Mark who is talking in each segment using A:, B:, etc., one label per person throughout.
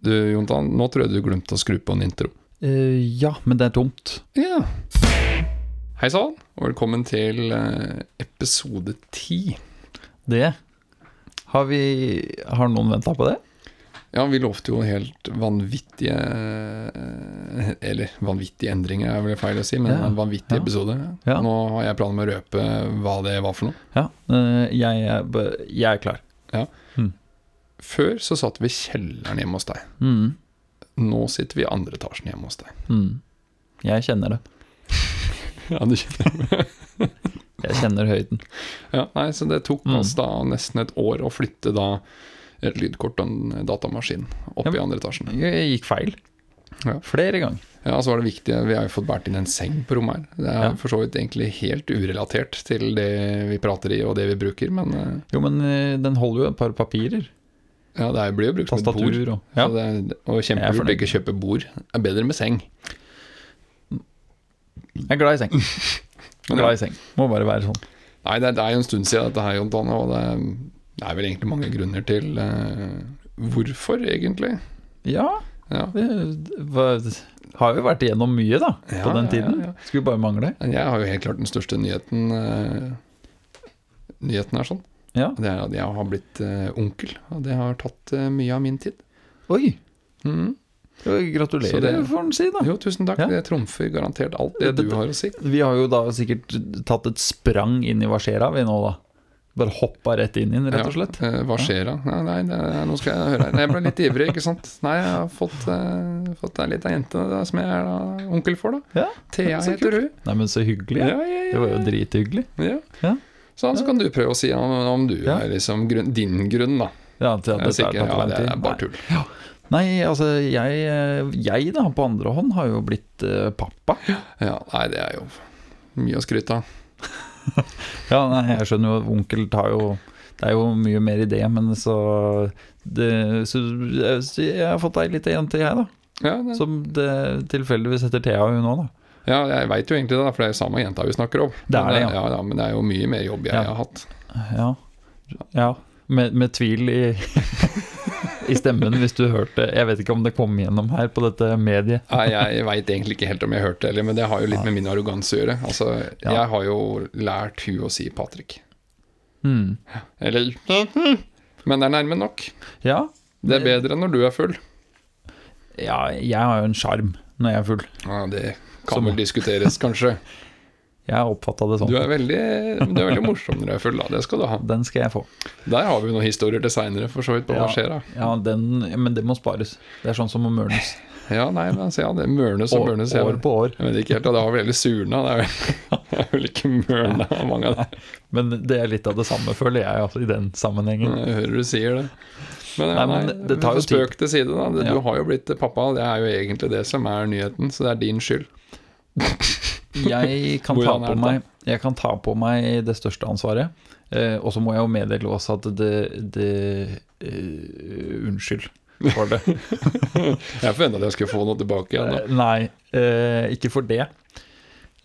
A: Du, Jontan, nå tror jeg du glemte å skru på en intro.
B: Eh, ja, men det er tomt.
A: Ja. Hei sann, og velkommen til eh, episode ti.
B: Det Har vi Har noen venta på det?
A: Ja, vi lovte jo helt vanvittige eh, Eller vanvittige endringer er vel feil å si, men
B: Ja,
A: en vanvittig
B: ja.
A: episode.
B: Ja.
A: Nå har jeg planer med å røpe hva det var for noe.
B: Ja. eh, jeg, er, b- jeg er klar.
A: Før så satt vi i kjelleren hjemme hos deg.
B: Mm.
A: Nå sitter vi i andre etasjen hjemme hos deg.
B: Mm. Jeg kjenner det.
A: Ja, du kjenner
B: Jeg kjenner høyden.
A: Ja, nei, så det tok
B: Mm.
A: oss da nesten et år å flytte da et lydkort og en datamaskin opp
B: Ja, men-
A: i andre etasjen.
B: Jeg gikk feil.
A: Ja.
B: Flere ganger.
A: Ja, så var det viktig, Vi har jo fått båret inn en seng på rommet her. Det er
B: Ja.
A: for så vidt egentlig helt urelatert til det vi prater i og det vi bruker, men eh,
B: Jo, men eh, den holder jo et par papirer.
A: ja, det blir jo brukt som et bord.
B: Tastatur og
A: Ja.
B: ja.
A: Så det, er- og
B: Jeg er
A: kjempelurt
B: fornøyd.
A: ikke å kjøpe bord. Det er bedre med seng.
B: Jeg er glad i seng.
A: Men ja.
B: Glad i seng. Må bare være sånn.
A: Nei, det er, det er jo en stund siden dette her, Jon Tanne, og det er, det er vel egentlig mange grunner til eh, hvorfor, egentlig.
B: Ja,
A: Ja.
B: det, var- har jo vært igjennom mye, da, på
A: Ja,
B: den
A: ja,
B: tiden.
A: ja, ja.
B: Skulle bare mangle.
A: Men Jeg har jo helt klart den største nyheten eh, Nyheten er sånn.
B: Ja.
A: Det er at jeg har blitt eh, onkel, og det har tatt eh, mye av min tid.
B: Oi! Mm.
A: Mhm.
B: jo, Gratulerer,
A: Så det-
B: får en si, da.
A: Jo, tusen takk.
B: Ja.
A: Det trumfer garantert alt det du
B: Dette-
A: har å si.
B: Vi har jo da sikkert tatt et sprang inn i Warszawa vi nå, da. Bare hoppa rett inn i den, rett og slett.
A: Ja, eh, hva skjer da? Nei, nei, det er, nå skal jeg høre her. Nei, Jeg ble litt ivrig, ikke sant. Nei, jeg har fått, eh, fått ei lita jente da, som jeg er da onkel for, da.
B: Ja.
A: Thea
B: så
A: heter hun.
B: Nei, men så hyggelig.
A: ja, ja,
B: Det var jo drithyggelig.
A: ja.
B: Ja.
A: Så, så kan du prøve å si om, om du
B: Ja.
A: er liksom grunn, din grunn, da.
B: Ja, til at
A: Jeg er
B: dette har
A: sikker,
B: tatt
A: ja,
B: lang
A: det
B: tid.
A: er bare tull.
B: Nei, nei, altså jeg, jeg da, på andre hånd, har jo blitt eh, pappa.
A: Ja, nei, det er jo mye å skryte av.
B: Ja, nei, jeg skjønner jo, onkel tar jo Det er jo mye mer i det, men så det, så, så jeg har fått ei lita jente, jeg, da.
A: Ja, det,
B: Som det tilfeldigvis heter Thea, hun òg, da.
A: ja, jeg veit jo egentlig det, da, for det er jo samme jenta vi snakker om.
B: Det
A: Men
B: er det, ja.
A: ja. ja. Men det er jo mye mer jobb jeg
B: Ja.
A: har hatt.
B: Ja. ja. Med, med tvil i, i stemmen, hvis du hørte Jeg vet ikke om det kom gjennom her på dette mediet.
A: Nei, jeg veit egentlig ikke helt om jeg hørte det heller, men det har jo litt med min arroganse å gjøre. Altså,
B: Ja.
A: jeg har jo lært hun å si Patrick.
B: Hmm.
A: Eller Men det er nærme nok.
B: Ja.
A: Det er bedre når du er full.
B: ja, jeg har jo en sjarm når jeg er full.
A: Ja, det kan
B: Som-
A: vel diskuteres, kanskje.
B: Jeg oppfatta det
A: Du
B: sånn.
A: er veldig, men du er veldig morsom når du er full, da. Det skal du ha.
B: Den skal jeg få.
A: Der har vi jo noen historier til seinere, for så vidt, på hva
B: Ja.
A: skjer da.
B: Ja, den, Men det må spares. Det er sånn som å mørnes.
A: Ja, nei, men altså, ja, det er Mørnes og
B: År,
A: Mørnes. jeg
B: år
A: var-
B: på år.
A: Jeg vet ikke helt, og det har vel heller surna. Det er vel, det er vel ikke mørna mange av dem.
B: Men det er litt av det samme, føler jeg, altså, i den sammenhengen.
A: Jeg hører du sier det. Men, ja,
B: Nei, men
A: nei,
B: det tar
A: vi
B: jo
A: får spøk til side, da. Du
B: Ja.
A: har jo blitt pappa, og det er jo egentlig det som er nyheten, så det er din skyld.
B: Jeg kan, ta
A: Hvordan er
B: på
A: det da?
B: meg, jeg kan ta på meg det største ansvaret. Eh, og så må jeg jo meddele også at det, det eh, Unnskyld for det.
A: Jeg forventa at jeg skulle få noe tilbake igjen. Da.
B: Eh, nei, eh, ikke for det.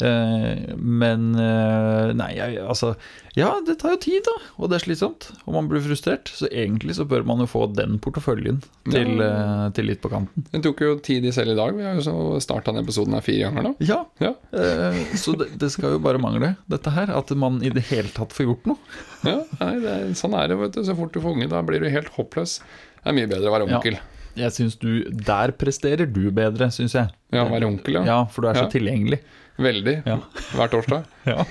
B: Eh, men eh, Nei, jeg, altså Ja, det tar jo tid, da. Og det er slitsomt. Og man blir frustrert. Så egentlig så bør man jo få den porteføljen til, eh, til litt på kanten.
A: Det tok jo tid i selv i dag. Vi har jo starta denne episoden her fire ganger nå.
B: Ja.
A: Ja.
B: Eh, så det, det skal jo bare mangle, dette her. At man i det hele tatt får gjort noe.
A: Ja, nei, det er, sånn er det, vet du. Så fort du får unge, da blir du helt håpløs. Det er mye bedre å være
B: Ja.
A: onkel.
B: Jeg syns du Der presterer du bedre, syns jeg.
A: Ja, være onkel, ja.
B: Ja, for du er så
A: Ja.
B: tilgjengelig.
A: Veldig.
B: Ja.
A: Hver torsdag.
B: Ja.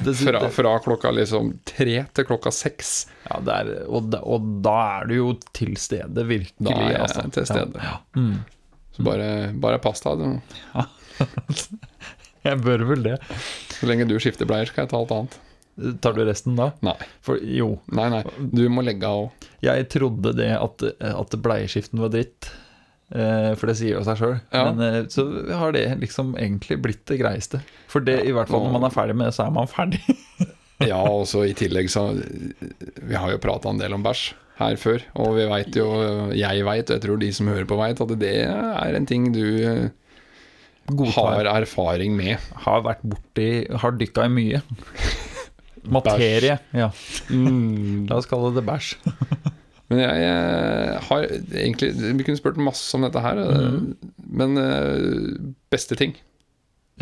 B: det,
A: Fra,
B: det,
A: fra klokka liksom tre til klokka seks.
B: ja det er, og, da- og da er du jo til stede, virkelig.
A: Da er jeg
B: altså.
A: til stede.
B: Ja. Ja. Mm.
A: Så bare, bare pass deg. du.
B: Jeg bør vel det.
A: Så lenge du skifter bleier, skal jeg ta alt annet.
B: Tar du resten da?
A: Nei,
B: For jo,
A: nei, nei. du må legge av òg.
B: jeg trodde det at, at bleieskiften var dritt. Eh, For det sier jo seg sjøl.
A: Ja.
B: Men eh, så har det liksom egentlig blitt det greieste. For det, i hvert fall når man er ferdig med det, så er man ferdig.
A: Ja, og så i tillegg så Vi har jo prata en del om bæsj her før, og vi veit jo Jeg veit, og jeg tror de som hører på veit, at det er en ting du eh,
B: Godtar.
A: har erfaring med.
B: Har vært borti Har dykka i mye. Mm. Materie. Ja. La oss kalle det bæsj.
A: Men jeg eh, har egentlig Vi kunne spurt masse om dette her, eh, men eh, beste ting.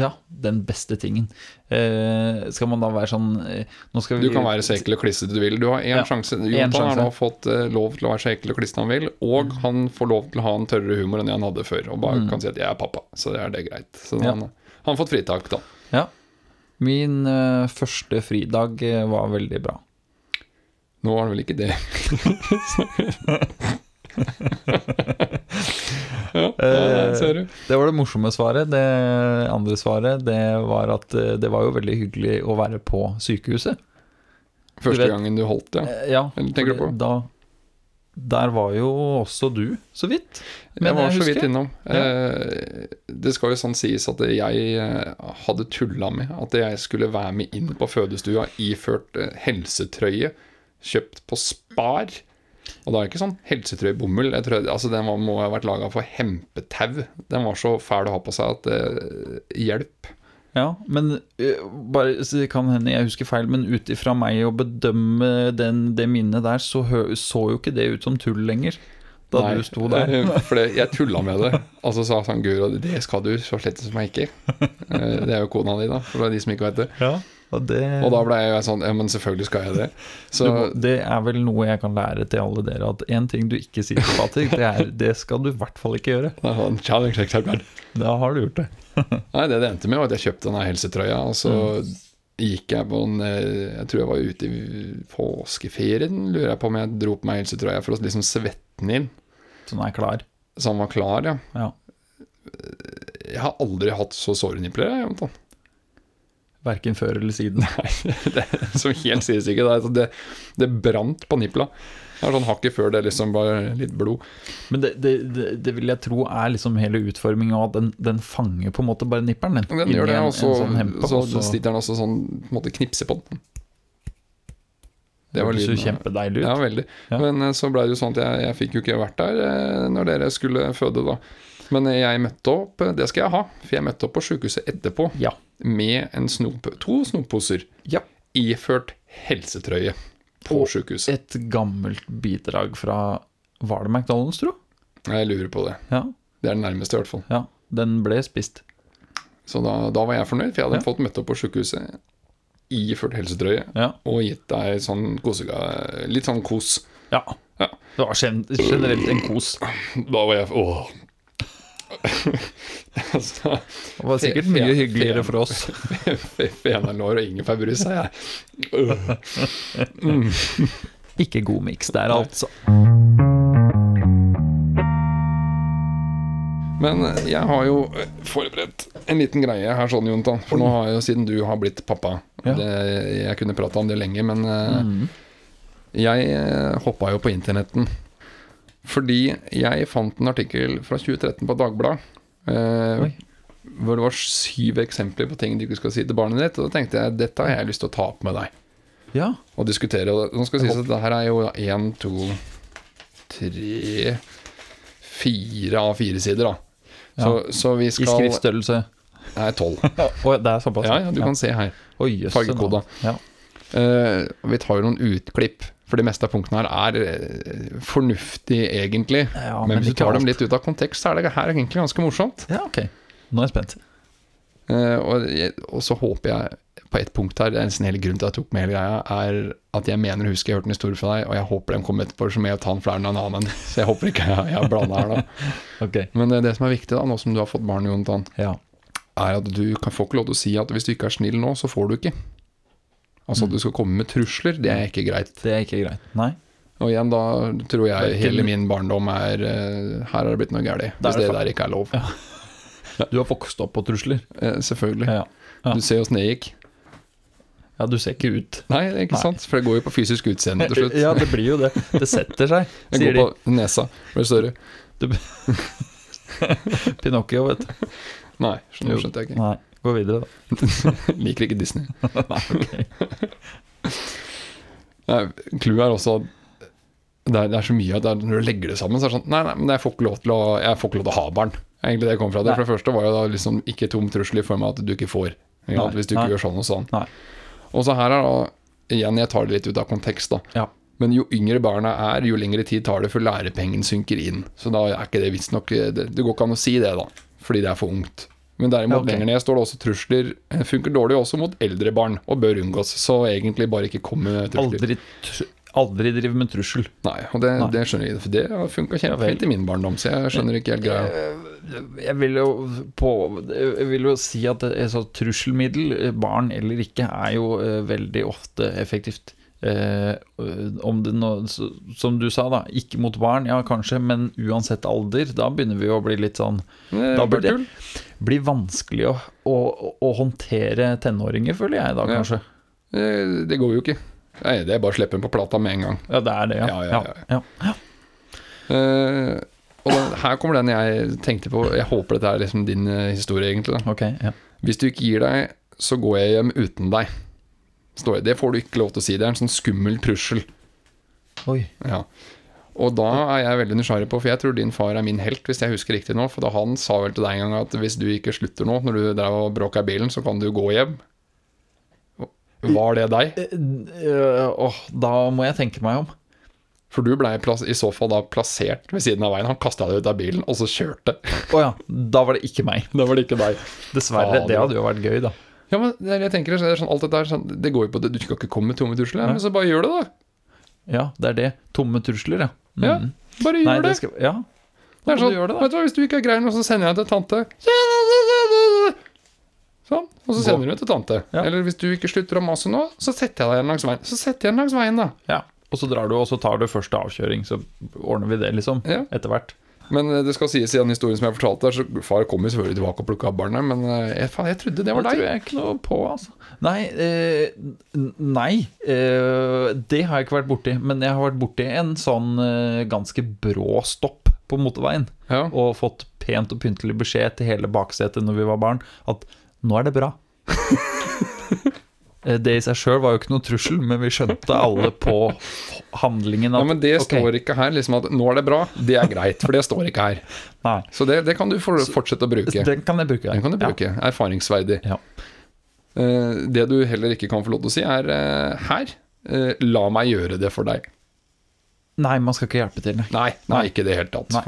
B: Ja, den beste tingen. Eh, skal man da være sånn eh, nå skal vi,
A: Du kan være så ekkel og klissete du vil. Du har én
B: Ja,
A: sjanse.
B: én
A: Jonathan
B: sjanse. Mm.
A: har nå fått eh, lov til å være så ekkel og klissete han vil, og han får lov til å ha en tørrere humor enn han hadde før, og bare kan si at 'jeg er pappa', så er det greit. Så
B: Ja.
A: han, han har fått fritak, da.
B: Ja. Min eh, første fridag eh, var veldig bra.
A: Nå var det vel ikke det. ja, der ser du.
B: Det var det morsomme svaret. Det andre svaret det var at eh, det var jo veldig hyggelig å være på sykehuset.
A: Første
B: vet-
A: gangen du holdt, ja.
B: Eh, Ja,
A: Eller tenker du
B: fordi
A: på?
B: Da, der var jo også du, så vidt.
A: jeg var så vidt innom.
B: Ja.
A: Eh, Det skal jo sånn sies at jeg eh, hadde tulla med at jeg skulle være med inn på fødestua iført eh, helsetrøye kjøpt på Spar. Og da er det ikke sånn helsetrøyebomull. Jeg tror, altså, den var, må ha vært laga for hempetau. Den var så fæl å ha på seg at eh, Hjelp.
B: Ja, men eh, bare, så det kan hende jeg husker feil, men ut ifra meg å bedømme den, det minnet der, så hø, så jo ikke det ut som tull lenger. Da
A: Nei,
B: du sto der.
A: For det, jeg tulla med det. Altså sa sånn Guro, det skal du så slett som jeg ikke. Eh, Det er jo kona di, da, for de som ikke vet det.
B: Ja, og det,
A: Og da ble jeg sånn Ja, men selvfølgelig skal jeg det.
B: du,
A: Så
B: må- det er vel noe jeg kan lære til alle dere, at én ting du ikke sier til Patrick, det, er, det skal du i hvert fall ikke gjøre.
A: det er sånn, challenge accepted.
B: Da har du gjort det.
A: Nei, det det endte med, var at jeg kjøpte denne helsetrøya, og så gikk jeg på en eh, Jeg tror jeg var ute i påskeferien, lurer jeg på om jeg dro på meg helsetrøya for å liksom svette den inn,
B: Så nå er jeg klar.
A: så han var klar, ja.
B: Ja.
A: Jeg har aldri hatt så såre nipler, jeg, Jonathan.
B: Verken før eller siden.
A: Som helt sies ikke. Det, er sånn- det, det brant på nipla. Det var sånn hakket før det liksom bare litt blod.
B: Men det, det, det, det vil jeg tro er liksom hele utforminga, at den, den fanger på en måte bare nipperen. Den,
A: Den gjør det, og så,
B: sånn
A: så,
B: og så-
A: sitter den også sånn på en måte knipser på den. Det var
B: Hørtes jo
A: lyden. av-
B: kjempedeilig ut.
A: Ja, veldig.
B: Ja.
A: Men eh, så ble det jo sånn at jeg, jeg fikk jo ikke vært der eh, når dere skulle føde, da. Men eh, jeg møtte opp, eh, det skal jeg ha, for jeg møtte opp på sykehuset etterpå
B: Ja.
A: med en snop, to snopposer
B: Ja.
A: iført helsetrøye på
B: Og
A: sykehuset.
B: Et gammelt bidrag fra Var det McDonald's, tro?
A: Jeg lurer på det.
B: Ja.
A: Det er det nærmeste, i hvert fall.
B: ja. Den ble spist.
A: Så da, da var jeg fornøyd, for jeg hadde fått møtt opp på sykehuset iført helsetrøye
B: Ja.
A: og gitt deg sånn kosega, litt sånn kos.
B: ja.
A: Ja.
B: Det var gen generelt en kos.
A: Da var jeg Åh. altså,
B: Det var sikkert
A: Fe- fe-
B: mye hyggeligere for oss.
A: Fenalår og ingefærbrus, sa jeg. Øh.
B: Ikke god miks der, altså.
A: Men jeg har jo øh, forberedt en liten greie her, sånn, Jonathan. For nå har jeg jo, siden du har blitt pappa
B: Ja. Mm.
A: det, Jeg kunne prata om det lenge, men eh, jeg hoppa jo på internetten. Fordi jeg fant en artikkel fra 2013 på Dagbladet. eh,
B: Oi.
A: hvor det var syv eksempler på ting du ikke skal si til barnet ditt. Og da tenkte jeg dette har jeg lyst til å ta opp med deg.
B: Ja.
A: og diskutere. Og det- nå skal det sies at det her er jo én, to, tre, fire av fire sider, da. Så, så vi
B: I
A: skal
B: skriftstørrelse.
A: Nei, tolv.
B: Å, det er såpass?
A: Ja, ja, du kan se her.
B: Oi, jøss,
A: fargekoda.
B: Ja.
A: Eh, vi tar jo noen utklipp, for det meste av punktene her er eh, fornuftig, egentlig.
B: Ja,
A: men,
B: men
A: hvis du
B: ikke
A: tar dem
B: alt.
A: litt ut av kontekst, så er det her egentlig ganske morsomt.
B: ja, ok. Nå er jeg spent.
A: Eh, og, jeg- og så håper jeg på et punkt her, det er nesten hele grunnen til at jeg tok med hele greia, er at jeg mener å huske jeg hørte en historie fra deg, og jeg håper den kom etterpå, så må jeg ta den flere enn en annen. Så jeg håper ikke jeg, jeg har blanda her, da.
B: Ok.
A: Men eh, det, det som er viktig, da, nå som du har fått barn, Jonathan,
B: Ja.
A: er at du kan, får ikke lov til å si at hvis du ikke er snill nå, så får du ikke.
B: Mm.
A: Altså at du skal komme med trusler, det er ikke greit.
B: Det er ikke greit. Nei.
A: Og igjen, da tror jeg
B: Hverken-
A: hele min barndom er eh, Her er det blitt noe galt,
B: Da er
A: hvis det
B: det fa-
A: der ikke er lov.
B: Du har vokst opp på trusler.
A: Eh, selvfølgelig.
B: Ja. Ja.
A: Du ser åssen det gikk.
B: ja, du ser ikke ut.
A: Nei, det er ikke
B: Nei.
A: sant? For det går jo på fysisk utseende til slutt.
B: Ja, det blir jo det. Det setter seg,
A: Den
B: sier
A: går
B: de.
A: på nesa. Blir større.
B: Pinocchio, vet du.
A: Nei, skjønner, skjønte jeg ikke.
B: Nei, gå videre, da.
A: Liker ikke Disney.
B: Nei, ok.
A: Nei, Clouet er også at det er, det er så mye at det er, når du legger det sammen, så er det sånn Nei, nei, men jeg får ikke lov til å, jeg får ikke lov til å ha barn. Det er Egentlig det jeg kom fra det.
B: Nei.
A: For det første var jo da liksom ikke tom trussel i form av at du ikke får. Ikke sant?
B: Nei,
A: Hvis du ikke
B: nei.
A: gjør sånn og sånn.
B: Nei.
A: Og så her er da Igjen, jeg tar det litt ut av kontekst, da.
B: Ja.
A: Men jo yngre barna er, jo lengre tid tar det før lærepengen synker inn. Så da er ikke det visstnok det, det går ikke an å si det, da. Fordi det er for ungt. Men derimot
B: Ja, ok.
A: lenger ned står det også trusler. eh, Funker dårlig også mot eldre barn, og bør unngås. Så egentlig bare ikke kom med trusler.
B: Aldri, tr- aldri drive med trussel.
A: Nei, og det,
B: Nei.
A: det skjønner jeg ikke. For det funka
B: Ja, vel.
A: kjempefint i min barndom, så jeg skjønner ikke helt greia.
B: Eh, Jeg vil jo, på, jeg vil jo si at et sånt trusselmiddel, eh, barn eller ikke, er jo eh, veldig ofte effektivt. Eh, om det nå, så- som du sa, da. Ikke mot barn, ja kanskje, men uansett alder. Da begynner vi å bli litt sånn Da blir det
A: Bartul?
B: blir vanskelig å, å, å håndtere tenåringer, føler jeg da,
A: Ja.
B: kanskje.
A: Eh, Det går jo ikke. Nei, det er bare å slippe den på plata med en gang.
B: Ja, det er det, ja.
A: Ja, ja, ja,
B: ja. ja.
A: Eh, og den, her kommer den jeg tenkte på. Jeg håper dette er liksom din eh, historie, egentlig. da.
B: Ok, ja.
A: Hvis du ikke gir deg, så går jeg hjem uten deg. Står det. det får du ikke lov til å si. Det er en sånn skummel trussel.
B: Oi.
A: Ja. Og da er jeg veldig nysgjerrig på, for jeg tror din far er min helt, hvis jeg husker riktig nå. For da han sa vel til deg en gang at hvis du ikke slutter nå, når du drev og bråka i bilen, så kan du gå hjem. Var det deg?
B: Eh, eh, Åh, da må jeg tenke meg om.
A: For du blei plass- i så fall da plassert ved siden av veien. Han kasta deg ut av bilen, og så kjørte.
B: Å ja, da var det ikke meg.
A: Da var det ikke deg.
B: Dessverre. Det
A: Fader.
B: hadde jo vært gøy, da.
A: Ja, men det er det jeg tenker, det er sånn, alt dette er sånn, det går jo på det. Du skal ikke komme med tomme trusler, men så bare gjør det, da.
B: Ja, det er det. Tomme trusler, ja. Mm.
A: Ja, bare gjør
B: Nei,
A: det.
B: det skal, ja.
A: Det er
B: må
A: sånn,
B: du gjøre det, da.
A: vet du hva, Hvis du ikke er grei nå, så sender jeg det til tante. Sånn, og så sender du det til tante.
B: Ja.
A: Eller hvis du ikke slutter å mase nå, så setter jeg deg igjen langs veien. Så setter jeg den langs veien, da.
B: ja. Og så drar du, og så tar du første avkjøring, så ordner vi det, liksom.
A: Ja.
B: Etter hvert.
A: Men eh, det skal sies i den historien som jeg fortalte der, så far kom jo selvfølgelig tilbake og plukka opp barnet, men eh, jeg, faen, jeg trodde det var
B: Det
A: deg.
B: tror jeg ikke noe på, altså. Nei, eh, n- nei eh, det har jeg ikke vært borti. Men jeg har vært borti en sånn eh, ganske brå stopp på motorveien.
A: Ja.
B: Og fått pent og pyntelig beskjed til hele baksetet når vi var barn, at nå er det bra. Eh, Det i seg sjøl var jo ikke noe trussel, men vi skjønte alle på handlingen at
A: Ja, men det
B: ok,
A: står ikke her. liksom at Nå er det bra, det er greit, for det står ikke her.
B: Nei.
A: Så det, det kan du for, fortsette å bruke.
B: Den kan jeg bruke.
A: Den kan du bruke. Erfaringsverdig.
B: Ja.
A: Eh, Det du heller ikke kan få lov til å si, er eh, her. eh, La meg gjøre det for deg.
B: Ja. Nei, man skal ikke hjelpe til. Nei.
A: Nei, nei, ikke i det hele tatt.
B: Nei.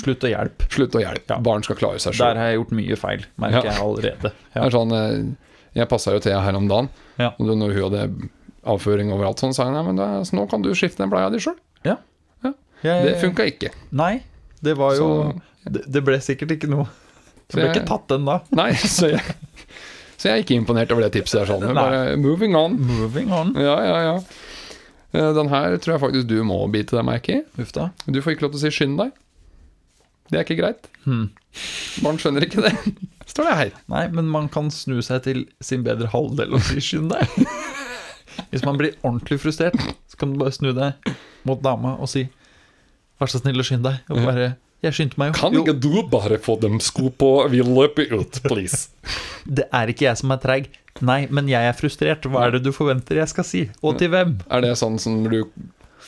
B: Slutt å hjelpe.
A: Slutt å hjelpe. Barn skal klare seg
B: Der
A: sjøl.
B: har jeg gjort mye feil,
A: Ja.
B: merker jeg allerede.
A: Det er Sånn, eh, jeg passa jo Thea her om dagen,
B: Ja.
A: og da når hun hadde avføring overalt, sånn, sa hun nei, men da, så nå kan du skifte den bleia di sjøl.
B: Ja.
A: Ja.
B: Jeg,
A: Det funka ikke.
B: Nei, det var jo
A: Så-
B: det, det ble sikkert ikke noe.
A: Så
B: Det ble
A: jeg-
B: ikke tatt den da.
A: Nei, så jeg, så jeg er ikke imponert over det tipset der. Sånn.
B: Nei.
A: Bare moving on.
B: Moving on.
A: Ja, ja, ja. Eh, Den her tror jeg faktisk du må bite deg merke i.
B: Uff da.
A: Du får ikke lov til å si 'skynd deg'. Det er ikke greit. Barn skjønner ikke det. Hmm. Står det her.
B: Nei, men man kan snu seg til sin bedre halvdel og si skynd deg. Hvis man blir ordentlig frustrert, så kan du bare snu deg mot dama og si vær så snill å skynde deg. Og bare jeg skyndte meg jo.
A: Kan ikke du bare få dem sko på? Vi løper ut, please.
B: Det er ikke jeg som er treig. Nei, men jeg er frustrert. Hva er det du forventer jeg skal si? Og til hvem?
A: Er det sånn som du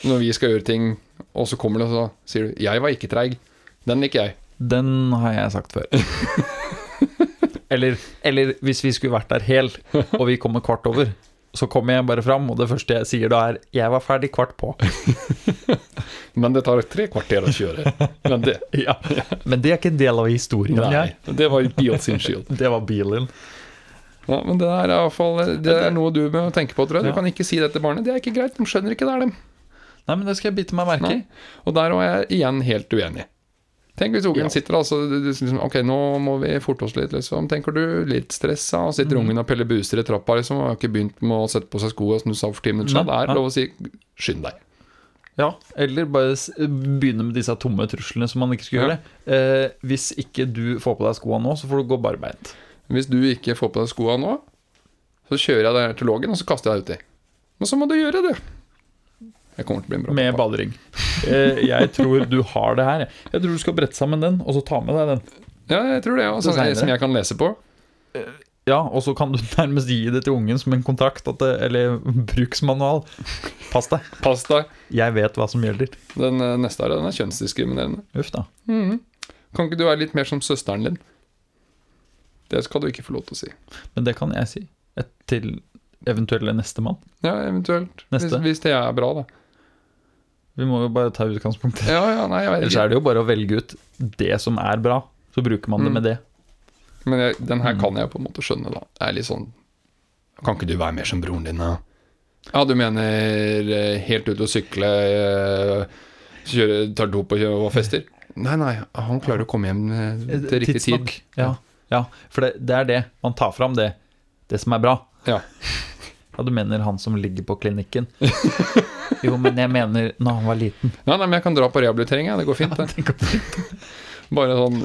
A: Når vi skal gjøre ting, og så kommer det, så sier du 'Jeg var ikke treig'. Den liker jeg.
B: Den har jeg sagt før. eller, eller hvis vi skulle vært der hel, og vi kommer kvart over, så kommer jeg bare fram, og det første jeg sier da er 'jeg var ferdig kvart på'.
A: Men det tar tre kvarter å kjøre. Men det
B: Ja. Men det er ikke en del av historien.
A: Nei.
B: Jeg.
A: Det var Beal sin skyld.
B: Det var bilen.
A: Ja, men det er i hvert fall eh, Det er noe du må tenke på, tror jeg. Du
B: Ja.
A: kan ikke si det til barnet. Det er ikke greit. De skjønner ikke det er dem.
B: Nei, men det skal jeg bite meg merke i.
A: Nei. Og der var jeg igjen helt uenig. Tenk hvis ungen
B: Ja.
A: sitter altså, du- du- liksom, Ok, nå må vi forte oss litt, liksom. Tenker du litt stressa, og
B: Mm.
A: sitter ungen og peller buser i trappa, liksom, og har ikke begynt med å sette på seg sko og snu seg for ti minutter siden. Det
B: Nei,
A: er
B: nei.
A: lov å si 'skynd deg'.
B: Ja, eller bare s- begynne med disse tomme truslene som man ikke skulle gjøre. Eh, hvis ikke du får på deg skoa nå, så får du gå barbeint.
A: Hvis du ikke får på deg skoa nå, så kjører jeg deg her til lågen, og så kaster jeg deg uti. Men så må du gjøre det. Jeg kommer til å bli en bra
B: Med
A: pappa.
B: badering. Eh, jeg tror du har det her. Jeg tror du skal brette sammen den, og så ta med deg den.
A: Ja, jeg tror det. Ja. Sånn,
B: Dessverre.
A: som jeg kan lese på.
B: Ja, og så kan du nærmest gi det til ungen som en kontrakt, at det, eller bruksmanual. Pass deg,
A: Pass deg.
B: jeg vet hva som gjelder.
A: Den eh, neste her, den er kjønnsdiskriminerende.
B: Uff da.
A: Kan ikke du være litt mer som søsteren din? Det skal du ikke få lov til å si.
B: Men det kan jeg si. Et til eventuelle nestemann.
A: Ja, eventuelt.
B: Neste.
A: Hvis, hvis det er bra, da.
B: Vi må jo bare ta utgangspunktet.
A: Ja, ja, nei, jeg vet
B: Ellers er
A: ikke.
B: det jo bare å velge ut det som er bra. Så bruker man det
A: Mm.
B: med det.
A: Men jeg, den her kan jeg på en måte skjønne, da. Det er litt sånn Mm. Kan ikke du være mer som broren din, da? Ja, du mener eh, helt ut og sykle, eh, kjøre, tar dop og, kjører og fester? Nei, nei, han klarer å komme hjem eh, til riktig
B: Tidsnok.
A: tid.
B: Ja, ja. For det, det er det. Man tar fram det. Det som er bra.
A: Ja.
B: Ja, du mener han som ligger på klinikken. Jo, men jeg mener når han var liten.
A: Nei, nei, men jeg kan dra på rehabilitering, jeg. Det går fint, det.
B: Det går
A: Bare sånn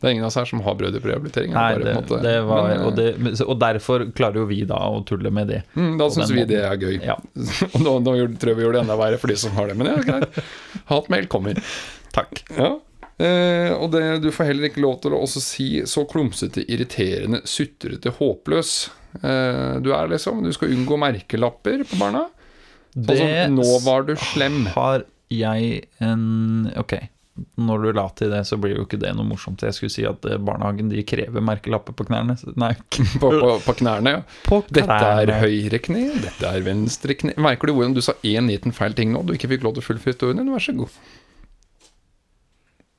A: Det er ingen av oss her som har brødre på rehabilitering.
B: Nei,
A: bare på
B: det,
A: en måte-
B: det var,
A: Men, eh,
B: og, det, men så- og derfor klarer jo vi da å tulle med det.
A: mm, da
B: på
A: syns
B: den
A: vi
B: måten.
A: det er gøy.
B: Ja,
A: Og nå, nå gjorde- tror jeg vi gjorde det enda verre for de som har det, men ja, greit. Hatmail kommer.
B: takk.
A: Ja. Eh, og det, du får heller ikke lov til å også si så klumsete, irriterende, sutrete, håpløs eh, du er, liksom. Du skal unngå merkelapper på barna. Sånn som 'nå var du slem'.
B: har jeg en Ok, når du la til det, så blir jo ikke det noe morsomt. Jeg skulle si at eh, barnehagen de krever merkelapper på knærne. så- Nei, k-
A: På, på, på knærne. ja.
B: på
A: Dette er
B: knærne.
A: høyre kne, dette er venstre kne Merker du hvordan du sa én liten feil ting nå? Du ikke fikk lov til å fullføre historien din? Vær så god.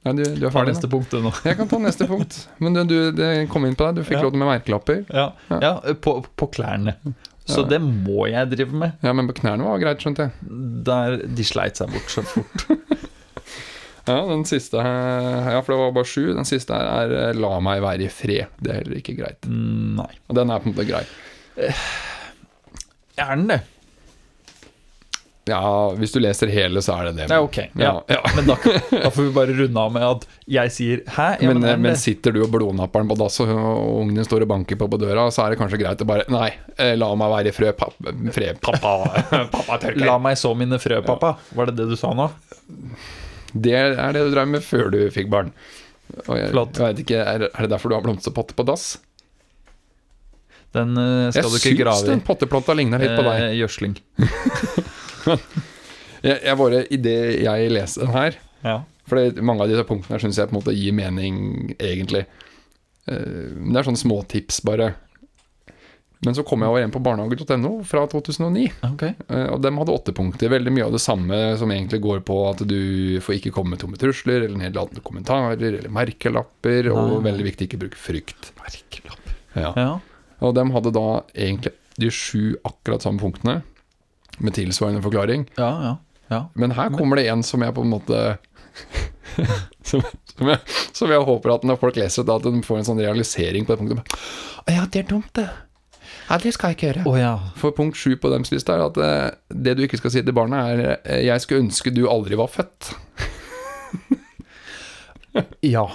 A: Nei, du, du er
B: Ta
A: ferdig nå.
B: neste punkt du, nå.
A: Jeg kan ta neste punkt. Men du, du, det kom inn på deg. Du fikk
B: Ja.
A: lov til med merkelapper.
B: Ja, ja på, på klærne. Så
A: Ja.
B: det må jeg drive med.
A: Ja, men på knærne var greit, skjønte jeg.
B: Der de sleit seg bort så fort.
A: Ja, den siste her Ja, for det var bare sju. Den siste her er eh, 'la meg være i fred'. Det er heller ikke greit.
B: Mm, Nei.
A: Og den er på en måte grei.
B: Er den det?
A: Ja, hvis du leser hele, så er det det.
B: Ja, ok. Ja.
A: ja.
B: Men da, da får vi bare runde av med at jeg sier 'hæ'? Ja,
A: men, eh,
B: men, er den
A: men
B: det?
A: sitter du og blodnapper den på dass, og og ungen din står og banker på på døra, så er det kanskje greit å bare Nei, eh, la meg være i frø, papp, fred, pappa, pappa tørker.
B: La meg så mine frø, pappa. Var det det du sa nå?
A: Det er det du drev med før du fikk barn. Og jeg,
B: Flott.
A: jeg vet ikke, er, er det derfor du har blomsterpotte på dass?
B: Den eh, skal du ikke
A: jeg syns
B: grave i.
A: den potteplanta ligna litt på deg.
B: Eh, Gjødsling.
A: Jeg, jeg bare, i det jeg leser den her
B: Ja.
A: For det, mange av disse punktene syns jeg på en måte gir mening, egentlig. Eh, Men det er sånne småtips, bare. Men så kom jeg over en på barnehage.no fra 2009.
B: Ok.
A: Eh, Og dem hadde åtte punkter. Veldig mye av det samme som egentlig går på at du får ikke komme med tomme trusler, eller nedlatende kommentarer, eller merkelapper, og
B: Nei.
A: veldig viktig ikke bruke frykt.
B: Merkelapp.
A: Ja.
B: Ja.
A: Og dem hadde da egentlig de sju akkurat samme punktene, med tilsvarende forklaring.
B: ja, ja, ja.
A: Men her kommer det en som jeg på en måte som, som, jeg, som jeg håper at når folk leser det, at de får en sånn realisering på det punktet. Bare, Å ja, det er dumt, det. Ja, det skal jeg ikke gjøre.
B: Å ja.
A: For punkt sju på dems liste er at eh, det du ikke skal si til barna, er eh, 'jeg skulle ønske du aldri var født'.
B: Ja.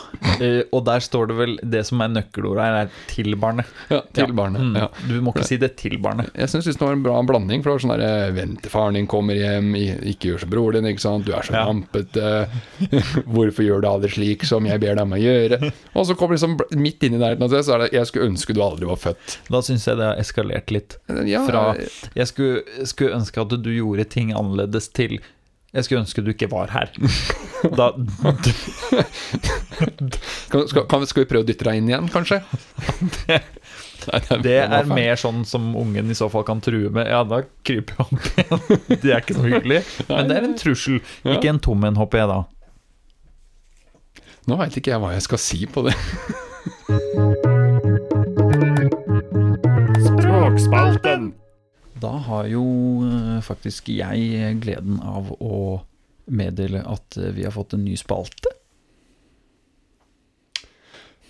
B: Eh, og der står det vel det som er nøkkelordet her, er 'til barnet'.
A: Ja, til
B: Ja.
A: barnet.
B: Mm.
A: Ja.
B: Du må ikke si det til barnet.
A: Jeg syns det var en bra blanding. For det var sånn der, eh, 'Vent til faren din kommer hjem', i- 'Ikke gjør som broren din', ikke sant? 'Du er så
B: Ja.
A: rampete', 'Hvorfor gjør du aldri slik som jeg ber deg om å gjøre'? Og så kommer liksom bl- midt inni der et eller annet sted, så er det 'Jeg skulle ønske du aldri var født'. Eh,
B: Da syns jeg det har eskalert litt.
A: Ja,
B: Fra Jeg skulle, skulle ønske at du gjorde ting annerledes til Jeg skulle ønske du ikke var her. Da
A: kan, skal, kan, skal vi prøve å dytte deg inn igjen, kanskje? Nei,
B: Det er
A: var feil.
B: mer sånn som ungen i så fall kan true med. Ja, da kryper han igjen. Det er ikke så hyggelig. Men det er en trussel. Ikke en tom en, håper jeg da.
A: Nå veit ikke jeg hva jeg skal si på det.
C: Språkspalten!
B: Da har jo eh, faktisk jeg eh, gleden av å meddele at eh, vi har fått en ny spalte.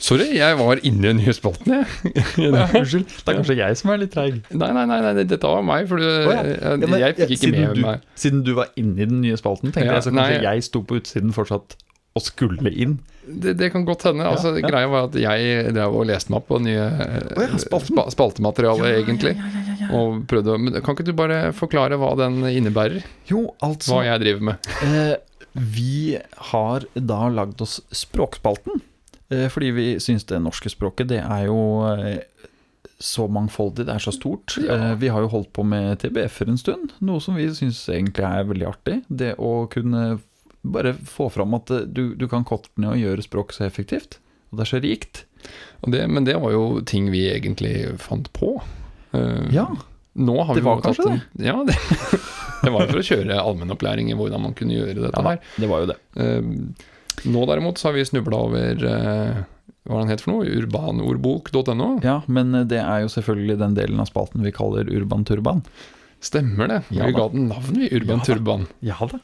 A: Sorry, jeg var inne i den nye spalten, jeg.
B: Unnskyld. Det er kanskje jeg som er litt treig.
A: Nei, nei, nei, nei dette var meg, for du,
B: Eh,
A: jeg, jeg, fikk ikke
B: siden,
A: med
B: du,
A: meg
B: siden du var inne i den nye spalten, tenkte
A: Ja,
B: jeg så
A: nei.
B: kanskje jeg sto på utsiden fortsatt og skulle inn.
A: det, det kan godt hende. altså,
B: ja.
A: Greia var at jeg drev og leste meg opp på nye eh,
B: Å ja, spalten.
A: spa, spaltemateriale, egentlig. Og prøvde å Men kan ikke du bare forklare hva den innebærer?
B: Jo, altså
A: Hva jeg driver med?
B: Eh, vi har da lagd oss Språkspalten, eh, fordi vi syns det norske språket det er jo eh, så mangfoldig, det er så stort.
A: Ja.
B: Eh, vi har jo holdt på med TBF-er en stund, noe som vi syns egentlig er veldig artig. Det å kunne bare få fram at eh, du, du kan korte ned og gjøre språket så effektivt. Og det er så rikt.
A: Og det, men det var jo ting vi egentlig fant på. Eh,
B: Ja,
A: Nå har
B: Det
A: vi
B: var
A: jo tatt
B: kanskje
A: en- Ja, det. Det var jo for å kjøre allmennopplæring i hvordan man kunne gjøre dette
B: Ja,
A: her.
B: det var jo det.
A: Eh, nå derimot så har vi snubla over eh, hva er den het for noe? Urbanordbok.no.
B: Ja, Men eh, det er jo selvfølgelig den delen av spalten vi kaller Urban Turban.
A: Stemmer det.
B: Ja
A: vi
B: da.
A: ga den navn, vi.
B: Ja
A: Urban
B: da.
A: Turban.
B: Ja da.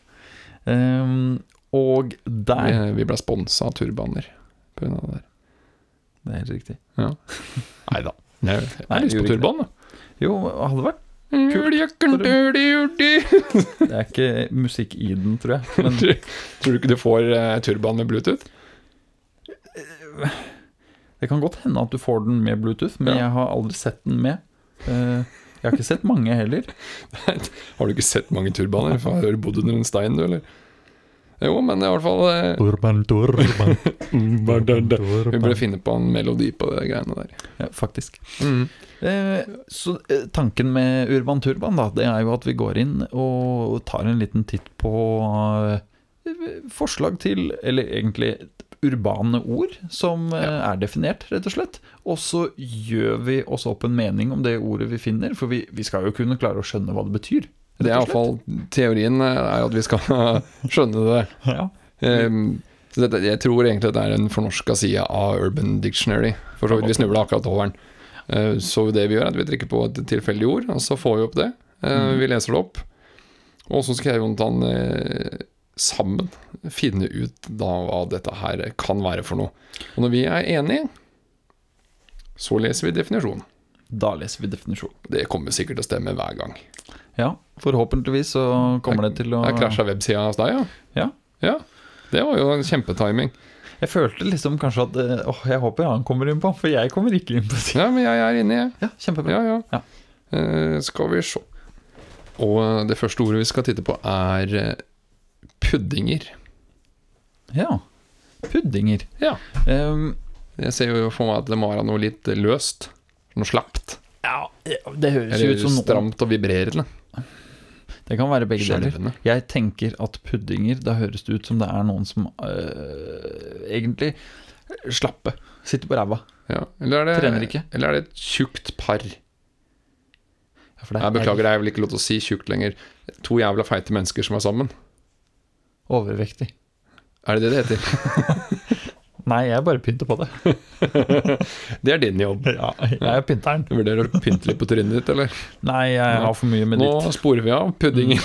B: Ehm, og der
A: Vi, vi ble sponsa av turbaner. På grunn av det der.
B: Det er helt riktig.
A: Neida. Nei da. Jeg
B: Nei,
A: har lyst
B: vi
A: på
B: gjorde ikke
A: turban, da. Mm,
B: Jo, hadde vært
A: Kult.
B: Det er ikke musikk i den, tror jeg. Men
A: Tror tror du ikke du får eh, turban med Bluetooth?
B: det kan godt hende at du får den med Bluetooth, men
A: Ja.
B: jeg har aldri sett den med. Eh, jeg har ikke sett mange heller.
A: Har du ikke sett mange turbaner? Faen, Har du bodd under en stein, du, eller? Jo, men i hvert fall eh,
C: Turban, turban, turban,
A: Vi
C: turban.
A: burde finne på en melodi på de greiene der.
B: Ja, faktisk. Eh, så eh, tanken med Urban Turban, da, det er jo at vi går inn og tar en liten titt på eh, forslag til, eller egentlig urbane ord som eh, er definert, rett og slett. Og så gjør vi oss opp en mening om det ordet vi finner, for vi, vi skal jo kunne klare å skjønne hva det betyr.
A: Det er
B: rett og slett.
A: iallfall teorien, eh, er jo at vi skal skjønne det.
B: Ja.
A: Ehm, så dette, jeg tror egentlig det er en fornorska side av Urban Dictionary. For så vidt Vi snubla akkurat over den. Eh, så det vi gjør, er at vi trykker på et tilfeldig ord, og så får vi opp det. Eh, Vi leser det opp. Og så skal jeg og Jonathan eh, sammen finne ut da hva dette her kan være for noe. Og når vi er enige, så leser vi definisjonen.
B: Da leser vi definisjonen.
A: Det kommer sikkert til å stemme hver gang.
B: Ja, forhåpentligvis så kommer det til å
A: Der krasja websida hos deg, ja.
B: Ja.
A: ja. Det var jo en kjempetiming.
B: Jeg følte liksom kanskje at eh, åh, jeg håper han kommer inn på, for jeg kommer ikke inn på det.
A: Ja, men jeg er inne, jeg.
B: Ja, kjempebra.
A: Ja, ja.
B: Ja.
A: Eh, skal vi se. Og eh, det første ordet vi skal titte på, er eh, puddinger.
B: Ja. Puddinger.
A: Ja.
B: Ehm,
A: Jeg ser jo for meg at det må være noe litt løst. Noe slapt.
B: ja, det høres jo
A: Eller
B: ut som noe
A: stramt og vibrerende.
B: Det kan være begge deler.
A: Skjelvende.
B: Jeg tenker at puddinger, da høres det ut som det er noen som øh, egentlig slappe. Sitter på ræva.
A: Ja. Eller, er
B: Trener
A: det,
B: ikke.
A: eller er det et tjukt par?
B: Ja, for det
A: Jeg beklager, det er vel ikke lov til å si tjukt lenger. To jævla feite mennesker som er sammen.
B: Overvektig.
A: Er det det det heter?
B: Nei, jeg bare pynter på det.
A: Det er din jobb.
B: Ja, jeg er pynteren.
A: Du vurderer å pynte litt på trynet ditt, eller?
B: Nei, jeg har for mye med
A: Nå
B: ditt.
A: sporer vi av puddingen.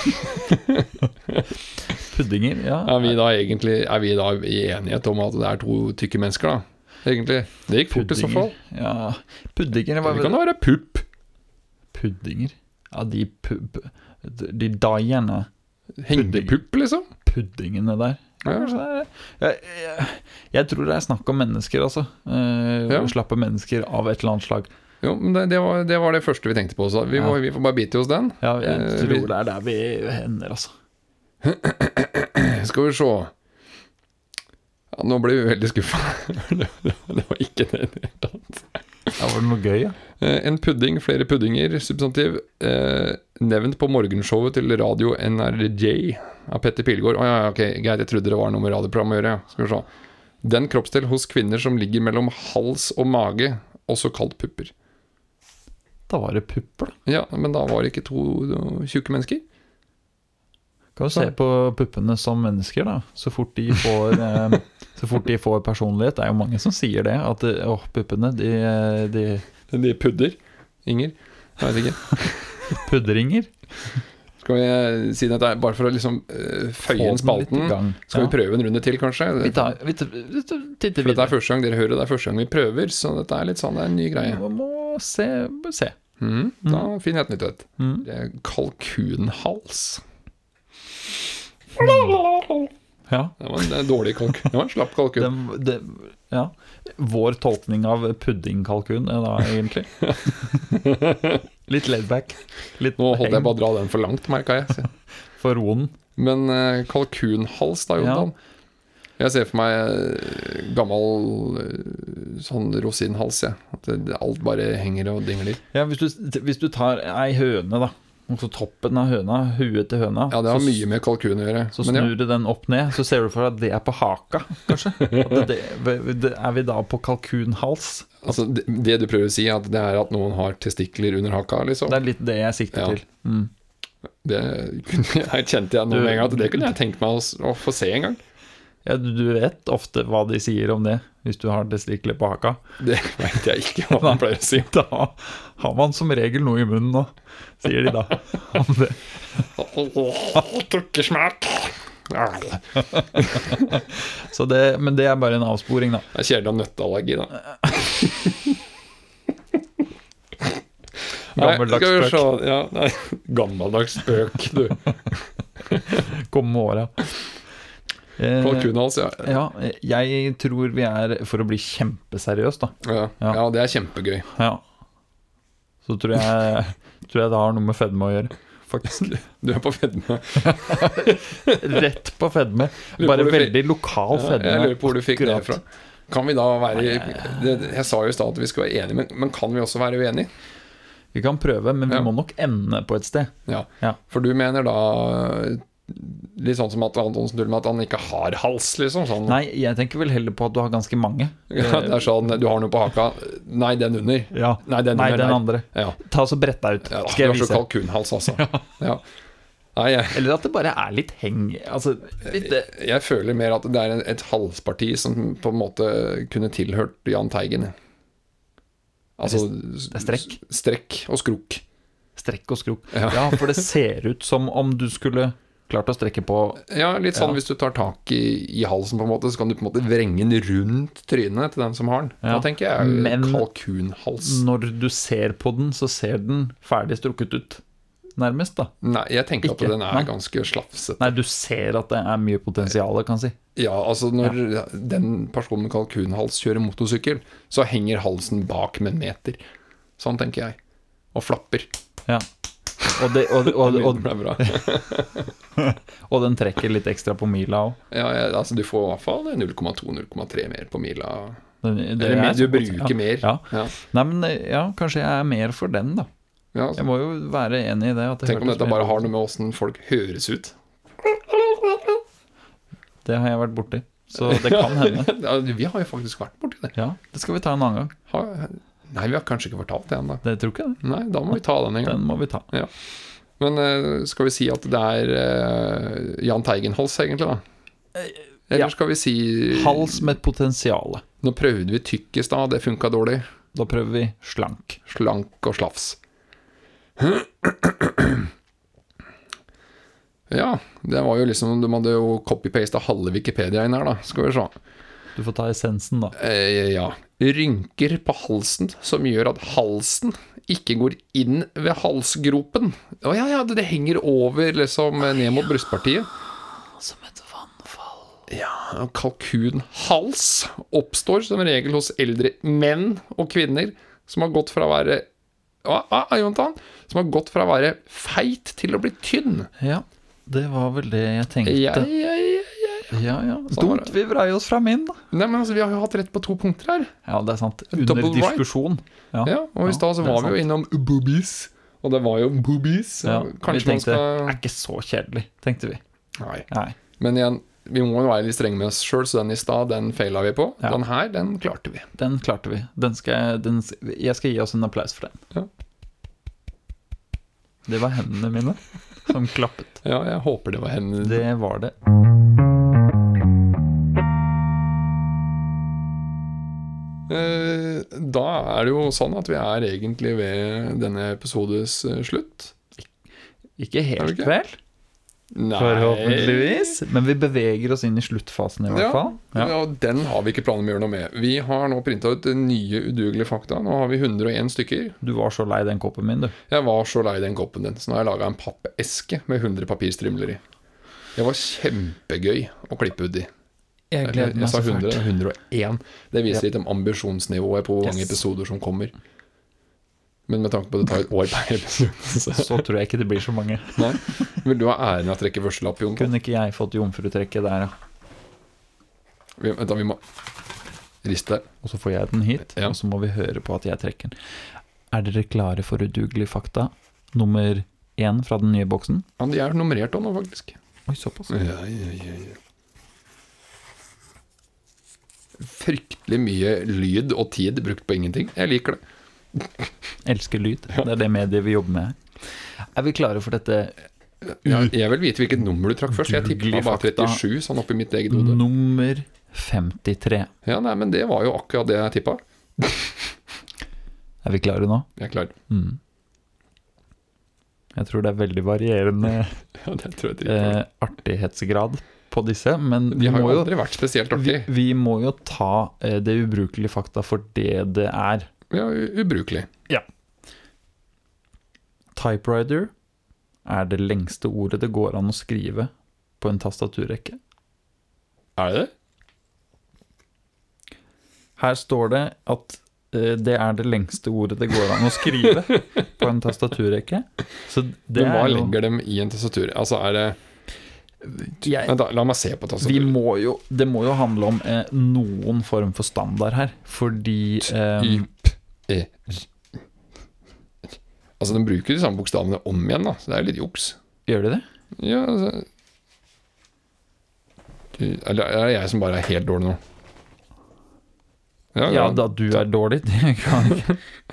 B: Puddinger, ja.
A: Er vi da egentlig Er vi da i enighet om at det er to tykke mennesker, da? Egentlig. Det gikk fort i så fall.
B: Puddinger. Ja. Puddinger,
A: Det kan
B: hva
A: da være pupp.
B: Puddinger? Ja, de pu... pu- De daiene.
A: Hengepupp, liksom.
B: puddingene
A: Ja.
B: der. Kanskje det er- Jeg, jeg, jeg tror det er snakk om mennesker, altså. Eh,
A: Ja.
B: Slappe mennesker av et eller annet slag.
A: Jo, men det, det, var, det var det første vi tenkte på. Så vi, må, vi får bare bite i oss den.
B: Ja, jeg
A: Eh,
B: tror
A: vi-
B: det er der vi hender, altså.
A: Skal vi se. Ja, nå ble vi veldig skuffa. det var ikke det i det hele tatt.
B: Ja, var det noe gøy, ja?
A: Eh, En pudding, flere puddinger, substantiv. Eh, nevnt på morgenshowet til Radio NRJ av Petter Pilgaard. Å ja, ja, ok, greit, jeg trodde det var noe med radioprogram å gjøre. ja. Skal vi se. Den kroppsdel hos kvinner som ligger mellom hals og mage, også kalt pupper.
B: Da var det pupper, da.
A: Ja, men da var det ikke to eh, tjukke mennesker.
B: Kan du se på puppene som mennesker, da. Så fort de får, eh, så fort de får personlighet. Det er jo mange som sier det. At eh, åh, puppene, de, eh, de
A: De pudder. Inger. Jeg vet ikke.
B: pudringer.
A: Skal vi eh, si det bare for å liksom eh, føye inn
B: Få den litt i
A: spalten?
B: gang.
A: Skal
B: Ja.
A: vi prøve en runde til, kanskje?
B: Vi, tar, vi, t- vi t- titter
A: For dette er
B: videre.
A: første gang dere hører det, det er første gang vi prøver, så dette er litt sånn, det er en ny greie.
B: Vi må se, se.
A: Mhm, da finner jeg et nytt et.
B: Mhm.
A: Det er kalkunhals.
B: Mm. Ja.
A: Det var en det er en dårlig kalkun. Det var en slapp kalkun.
B: Den, det, ja. Vår tolkning av puddingkalkun er da egentlig. Litt laidback. Litt
A: Nå holdt jeg
B: heng
A: bare å dra den for langt, merka jeg. Så-
B: for roen.
A: Men eh, kalkunhals, da, Jonathan. Jeg ser for meg eh, gammel eh, sånn rosinhals, jeg. At det- det- alt bare henger og dingler.
B: Ja, hvis, du, hvis du tar ei høne, da, og så toppen av høna, huet til høna,
A: Ja, det har
B: så,
A: mye med kalkun å gjøre.
B: så
A: Men ja,
B: snur du den opp ned, så ser du for deg at det er på haka, kanskje. At det, det, er vi da på kalkunhals?
A: altså, det, det du prøver å si, er at det er at noen har testikler under haka, liksom.
B: Det er litt det jeg sikter
A: Ja.
B: til. Mm.
A: Det kunne jeg, kjente jeg nå med en gang at det kunne jeg tenkt meg å, s- å få se en gang.
B: Ja, du du vet ofte hva de sier om det, hvis du har testikler på haka.
A: Det veit jeg ikke hva man pleier å si.
B: Da har man som regel noe i munnen nå, sier de da. Om det.
A: Tukkesmak. Det
B: Så det, men det er bare en avsporing, da.
A: er kjedelig å ha nøtteallergi, da. Nei,
B: Gammeldags
A: skal vi
B: spøk.
A: se. Ja, nei. Gammeldags spøk, du.
B: Kom med åra. Eh,
A: Kalkunhals, ja.
B: ja, jeg tror vi er For å bli kjempeseriøs, da.
A: Ja.
B: Ja.
A: ja, det er kjempegøy.
B: Ja. Så tror jeg, tror jeg det har noe med fedme å gjøre. Faktisk.
A: Du er på fedme.
B: Rett på fedme.
A: Lurer på
B: Bare
A: hvor du fikk-
B: veldig lokal
A: Ja,
B: fedme.
A: jeg lurer på hvor du fikk det
B: Akkurat.
A: fra. Kan vi da være det, Jeg sa jo i stad at vi skulle være enige, men, men kan vi også være uenige?
B: Vi kan prøve, men vi
A: Ja.
B: må nok ende på et sted.
A: Ja.
B: Ja.
A: For du mener da litt sånn som at Antonsen tuller med at han ikke har hals, liksom? Sånn.
B: Nei, jeg tenker vel heller på at du har ganske mange.
A: Ja, det er sånn Du har noe på haka. Nei, den under.
B: Ja.
A: Nei, den,
B: Nei,
A: under
B: den
A: der.
B: andre.
A: Ja.
B: Ta og så brett deg ut,
A: Ja,
B: skal jeg
A: du har
B: vise.
A: så kalkunhals, altså. Ja. Nei, jeg,
B: Eller at det bare er litt heng Altså, litt eh,
A: jeg føler mer at det er en- et halsparti som på en måte kunne tilhørt Jahn Teigen. Altså
B: det er strekk.
A: Strekk og skrukk.
B: strekk og skrok.
A: Ja.
B: Ja, for det ser ut som om du skulle klart å strekke på
A: Ja, litt sånn
B: Ja.
A: hvis du tar tak i, i halsen, på en måte så kan du på en måte vrenge den rundt trynet til den som har den.
B: Ja.
A: Da tenker jeg
B: Men-
A: kalkunhals.
B: Når du ser på den, så ser den ferdig strukket ut. Nærmest, da.
A: Nei, jeg tenker
B: Ikke.
A: at den er
B: Nei.
A: ganske slafset.
B: Nei, du ser at det er mye potensial, kan jeg si.
A: Ja, altså når den personen med kalkunhals kjører motorsykkel, så henger halsen bak med en meter. Sånn tenker jeg. Og flapper.
B: Ja. Og, det, og, og,
A: Det
B: og,
A: ble bra.
B: og den trekker litt ekstra på mila òg.
A: Ja, ja, altså du får i hvert fall 0,2-0,3 mer på mila.
B: Eller
A: Eller mer, du bruker mer.
B: Ja.
A: Ja.
B: Nei, men eh, ja, kanskje jeg er mer for den, da.
A: Ja, altså,
B: Jeg må jo være enig i det. At det
A: tenk om
B: hørtes
A: dette
B: mer
A: bare
B: ut.
A: har noe med åssen folk høres ut.
B: Det har jeg vært borti. Så det kan hende.
A: Ja, Vi har jo faktisk vært borti det.
B: Ja, det skal vi ta en annen gang.
A: Har- Nei, vi har kanskje ikke fortalt det ennå.
B: Det tror ikke jeg.
A: Nei, da må vi ta den en gang.
B: Den må vi ta.
A: Men eh, skal vi si at det er eh, Jahn Teigen-hals, egentlig, da? Eller
B: Eh, ja.
A: skal vi si
B: Hals med potensial.
A: Nå prøvde vi tykk i stad, det funka dårlig.
B: Da prøver vi slank.
A: Slank og slafs. Ja, det var jo liksom De hadde jo copy-pasta halve Wikipedia inn her, da. Skal vi se.
B: Du får ta essensen, da.
A: Eh, ja. Rynker på halsen som gjør at halsen ikke går inn ved halsgropen. Å ja, ja, det, det henger over liksom ned mot brystpartiet.
B: Som et vannfall.
A: Kalkunhals oppstår som regel hos eldre menn og kvinner som har gått fra å være Hva- hva- hva, Jonathan? Som har gått fra å være feit til å bli tynn.
B: Ja, det var vel det jeg tenkte.
A: Jeg,
B: Ja,
A: jeg, jeg.
B: ja.
A: Sånn var
B: Dumt vi vrei oss fra min, da.
A: Nei, men altså, Vi har jo hatt rett på to punkter her.
B: Ja, det er sant. Under
A: Double right.
B: diskusjon.
A: Ja, og
B: Ja,
A: i stad så
B: det er
A: var vi jo innom boobies, og det var jo boobies.
B: Ja,
A: så
B: vi
A: Kanskje man
B: tenkte
A: skal
B: er ikke så kjedelig, tenkte vi.
A: Nei.
B: Nei.
A: Men igjen, vi må jo være litt strenge med oss sjøl, så den i stad, den feila vi på.
B: Ja.
A: Den her, den klarte vi.
B: Den klarte vi. Den skal, den, s- jeg skal gi oss en applaus for den.
A: Ja.
B: Det var hendene mine som klappet.
A: Ja, jeg håper det var henne.
B: Det var det.
A: Eh, Da er det jo sånn at vi er egentlig ved denne episodes eh, slutt.
B: Ikke
A: Er
B: helt
A: det ikke?
B: vel,
A: Nei.
B: forhåpentligvis, men vi beveger oss inn i sluttfasen i hvert
A: Ja.
B: fall.
A: Ja. Den har vi ikke planer om å gjøre noe med. Vi har nå printa ut nye udugelige fakta. Nå har vi 101 stykker.
B: Du var så lei den koppen min, du.
A: Jeg var så lei den koppen din, så nå har jeg laga en pappeske med 100 papirstrimler i. Det var kjempegøy å klippe ut i.
B: Jeg
A: Jeg, jeg sa 100, det er 101. Det
B: Ja.
A: viser litt om ambisjonsnivået på hvor mange
B: Yes.
A: episoder som kommer. Men med tanke på at det tar et år per episode så.
B: Så tror jeg ikke det blir så mange.
A: Nei. Vil du ha æren av å trekke førstelapp, Jon?
B: Kunne ikke jeg fått jomfrutrekket der, ja.
A: Vi, vent, da, vi må riste.
B: Og så får jeg den hit,
A: Ja.
B: og så må vi høre på at jeg trekker den. Er dere klare for udugelige fakta? Nummer én fra den nye boksen.
A: Ja, de er nummerert òg nå, faktisk.
B: Oi, såpass.
A: Ja, ja, ja, ja. Fryktelig mye lyd og tid brukt på ingenting. Jeg liker det.
B: Elsker lyd. Det er det mediet vi jobber med. Er vi klare for dette
A: Jeg, jeg vil vite hvilket nummer du trakk først. Jeg tippa
B: Udugelig
A: bare
B: fakta.
A: 37, sånn oppi mitt eget hode.
B: nummer 53?
A: Ja, nei, men det var jo akkurat det jeg tippa.
B: Er vi klare nå?
A: Jeg er klar.
B: Mm. Jeg tror det er veldig varierende
A: Ja, det tror jeg
B: eh, artighetsgrad på disse, men
A: De
B: vi
A: har
B: må
A: jo
B: jo,
A: aldri vært spesielt
B: vi,
A: artig.
B: vi må jo ta eh, det ubrukelige fakta for det det er.
A: Ja, u- ubrukelig.
B: Typewriter er det lengste ordet det går an å skrive på en tastaturrekke.
A: Er det det?
B: Her står det at eh, det er det lengste ordet det går an å skrive på en tastaturrekke. Så det
A: Men hva
B: er jo
A: legger dem i en tastatur? Altså, er det
B: Jeg,
A: Vent, da, la meg se på
B: Vi
A: tastaturet.
B: må jo, det må jo handle om eh, noen form for standard her, fordi eh,
A: E, r. Altså, de bruker de samme bokstavene om igjen, da, så det er litt juks.
B: Gjør de det?
A: Ja, altså Du- Eller er det jeg som bare er helt dårlig nå? Ja,
B: Ja, da du er dårlig, det kan,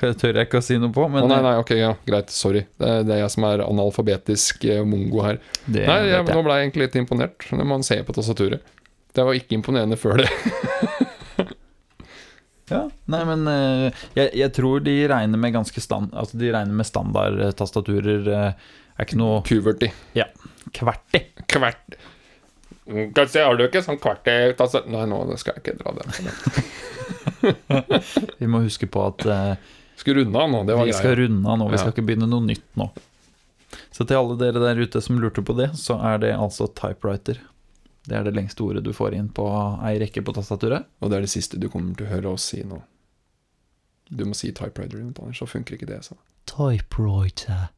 B: kan tør jeg ikke å si noe på, men eh,
A: Å, nei, nei, ok, ja, greit. Sorry. Det er, det er jeg som er analfabetisk eh, mongo her.
B: det
A: Nei, jeg,
B: vet
A: Nå
B: jeg.
A: ble jeg egentlig litt imponert når man ser på tastaturet. Det var ikke imponerende før det.
B: Ja, nei, men eh, jeg, jeg tror de regner med ganske stand, altså de regner med standardtastaturer. Uh, er ikke noe
A: Kuverti.
B: kvert i.
A: Kvert. Kanskje har du ikke sånn kvart altså. Nei, nå skal jeg ikke dra det.
B: Vi må huske på at eh,
A: Skulle runde av nå, det var
B: vi skal
A: greia.
B: runde av nå, vi
A: Ja.
B: skal ikke begynne noe nytt nå. Så til alle dere der ute som lurte på det, så er det altså typewriter. Det er det lengste ordet du får inn på ei rekke på tastaturet.
A: Og det er det siste du kommer til å høre oss si nå. Du må si typewriter, Anders, så funker ikke det. Så.
B: Typewriter.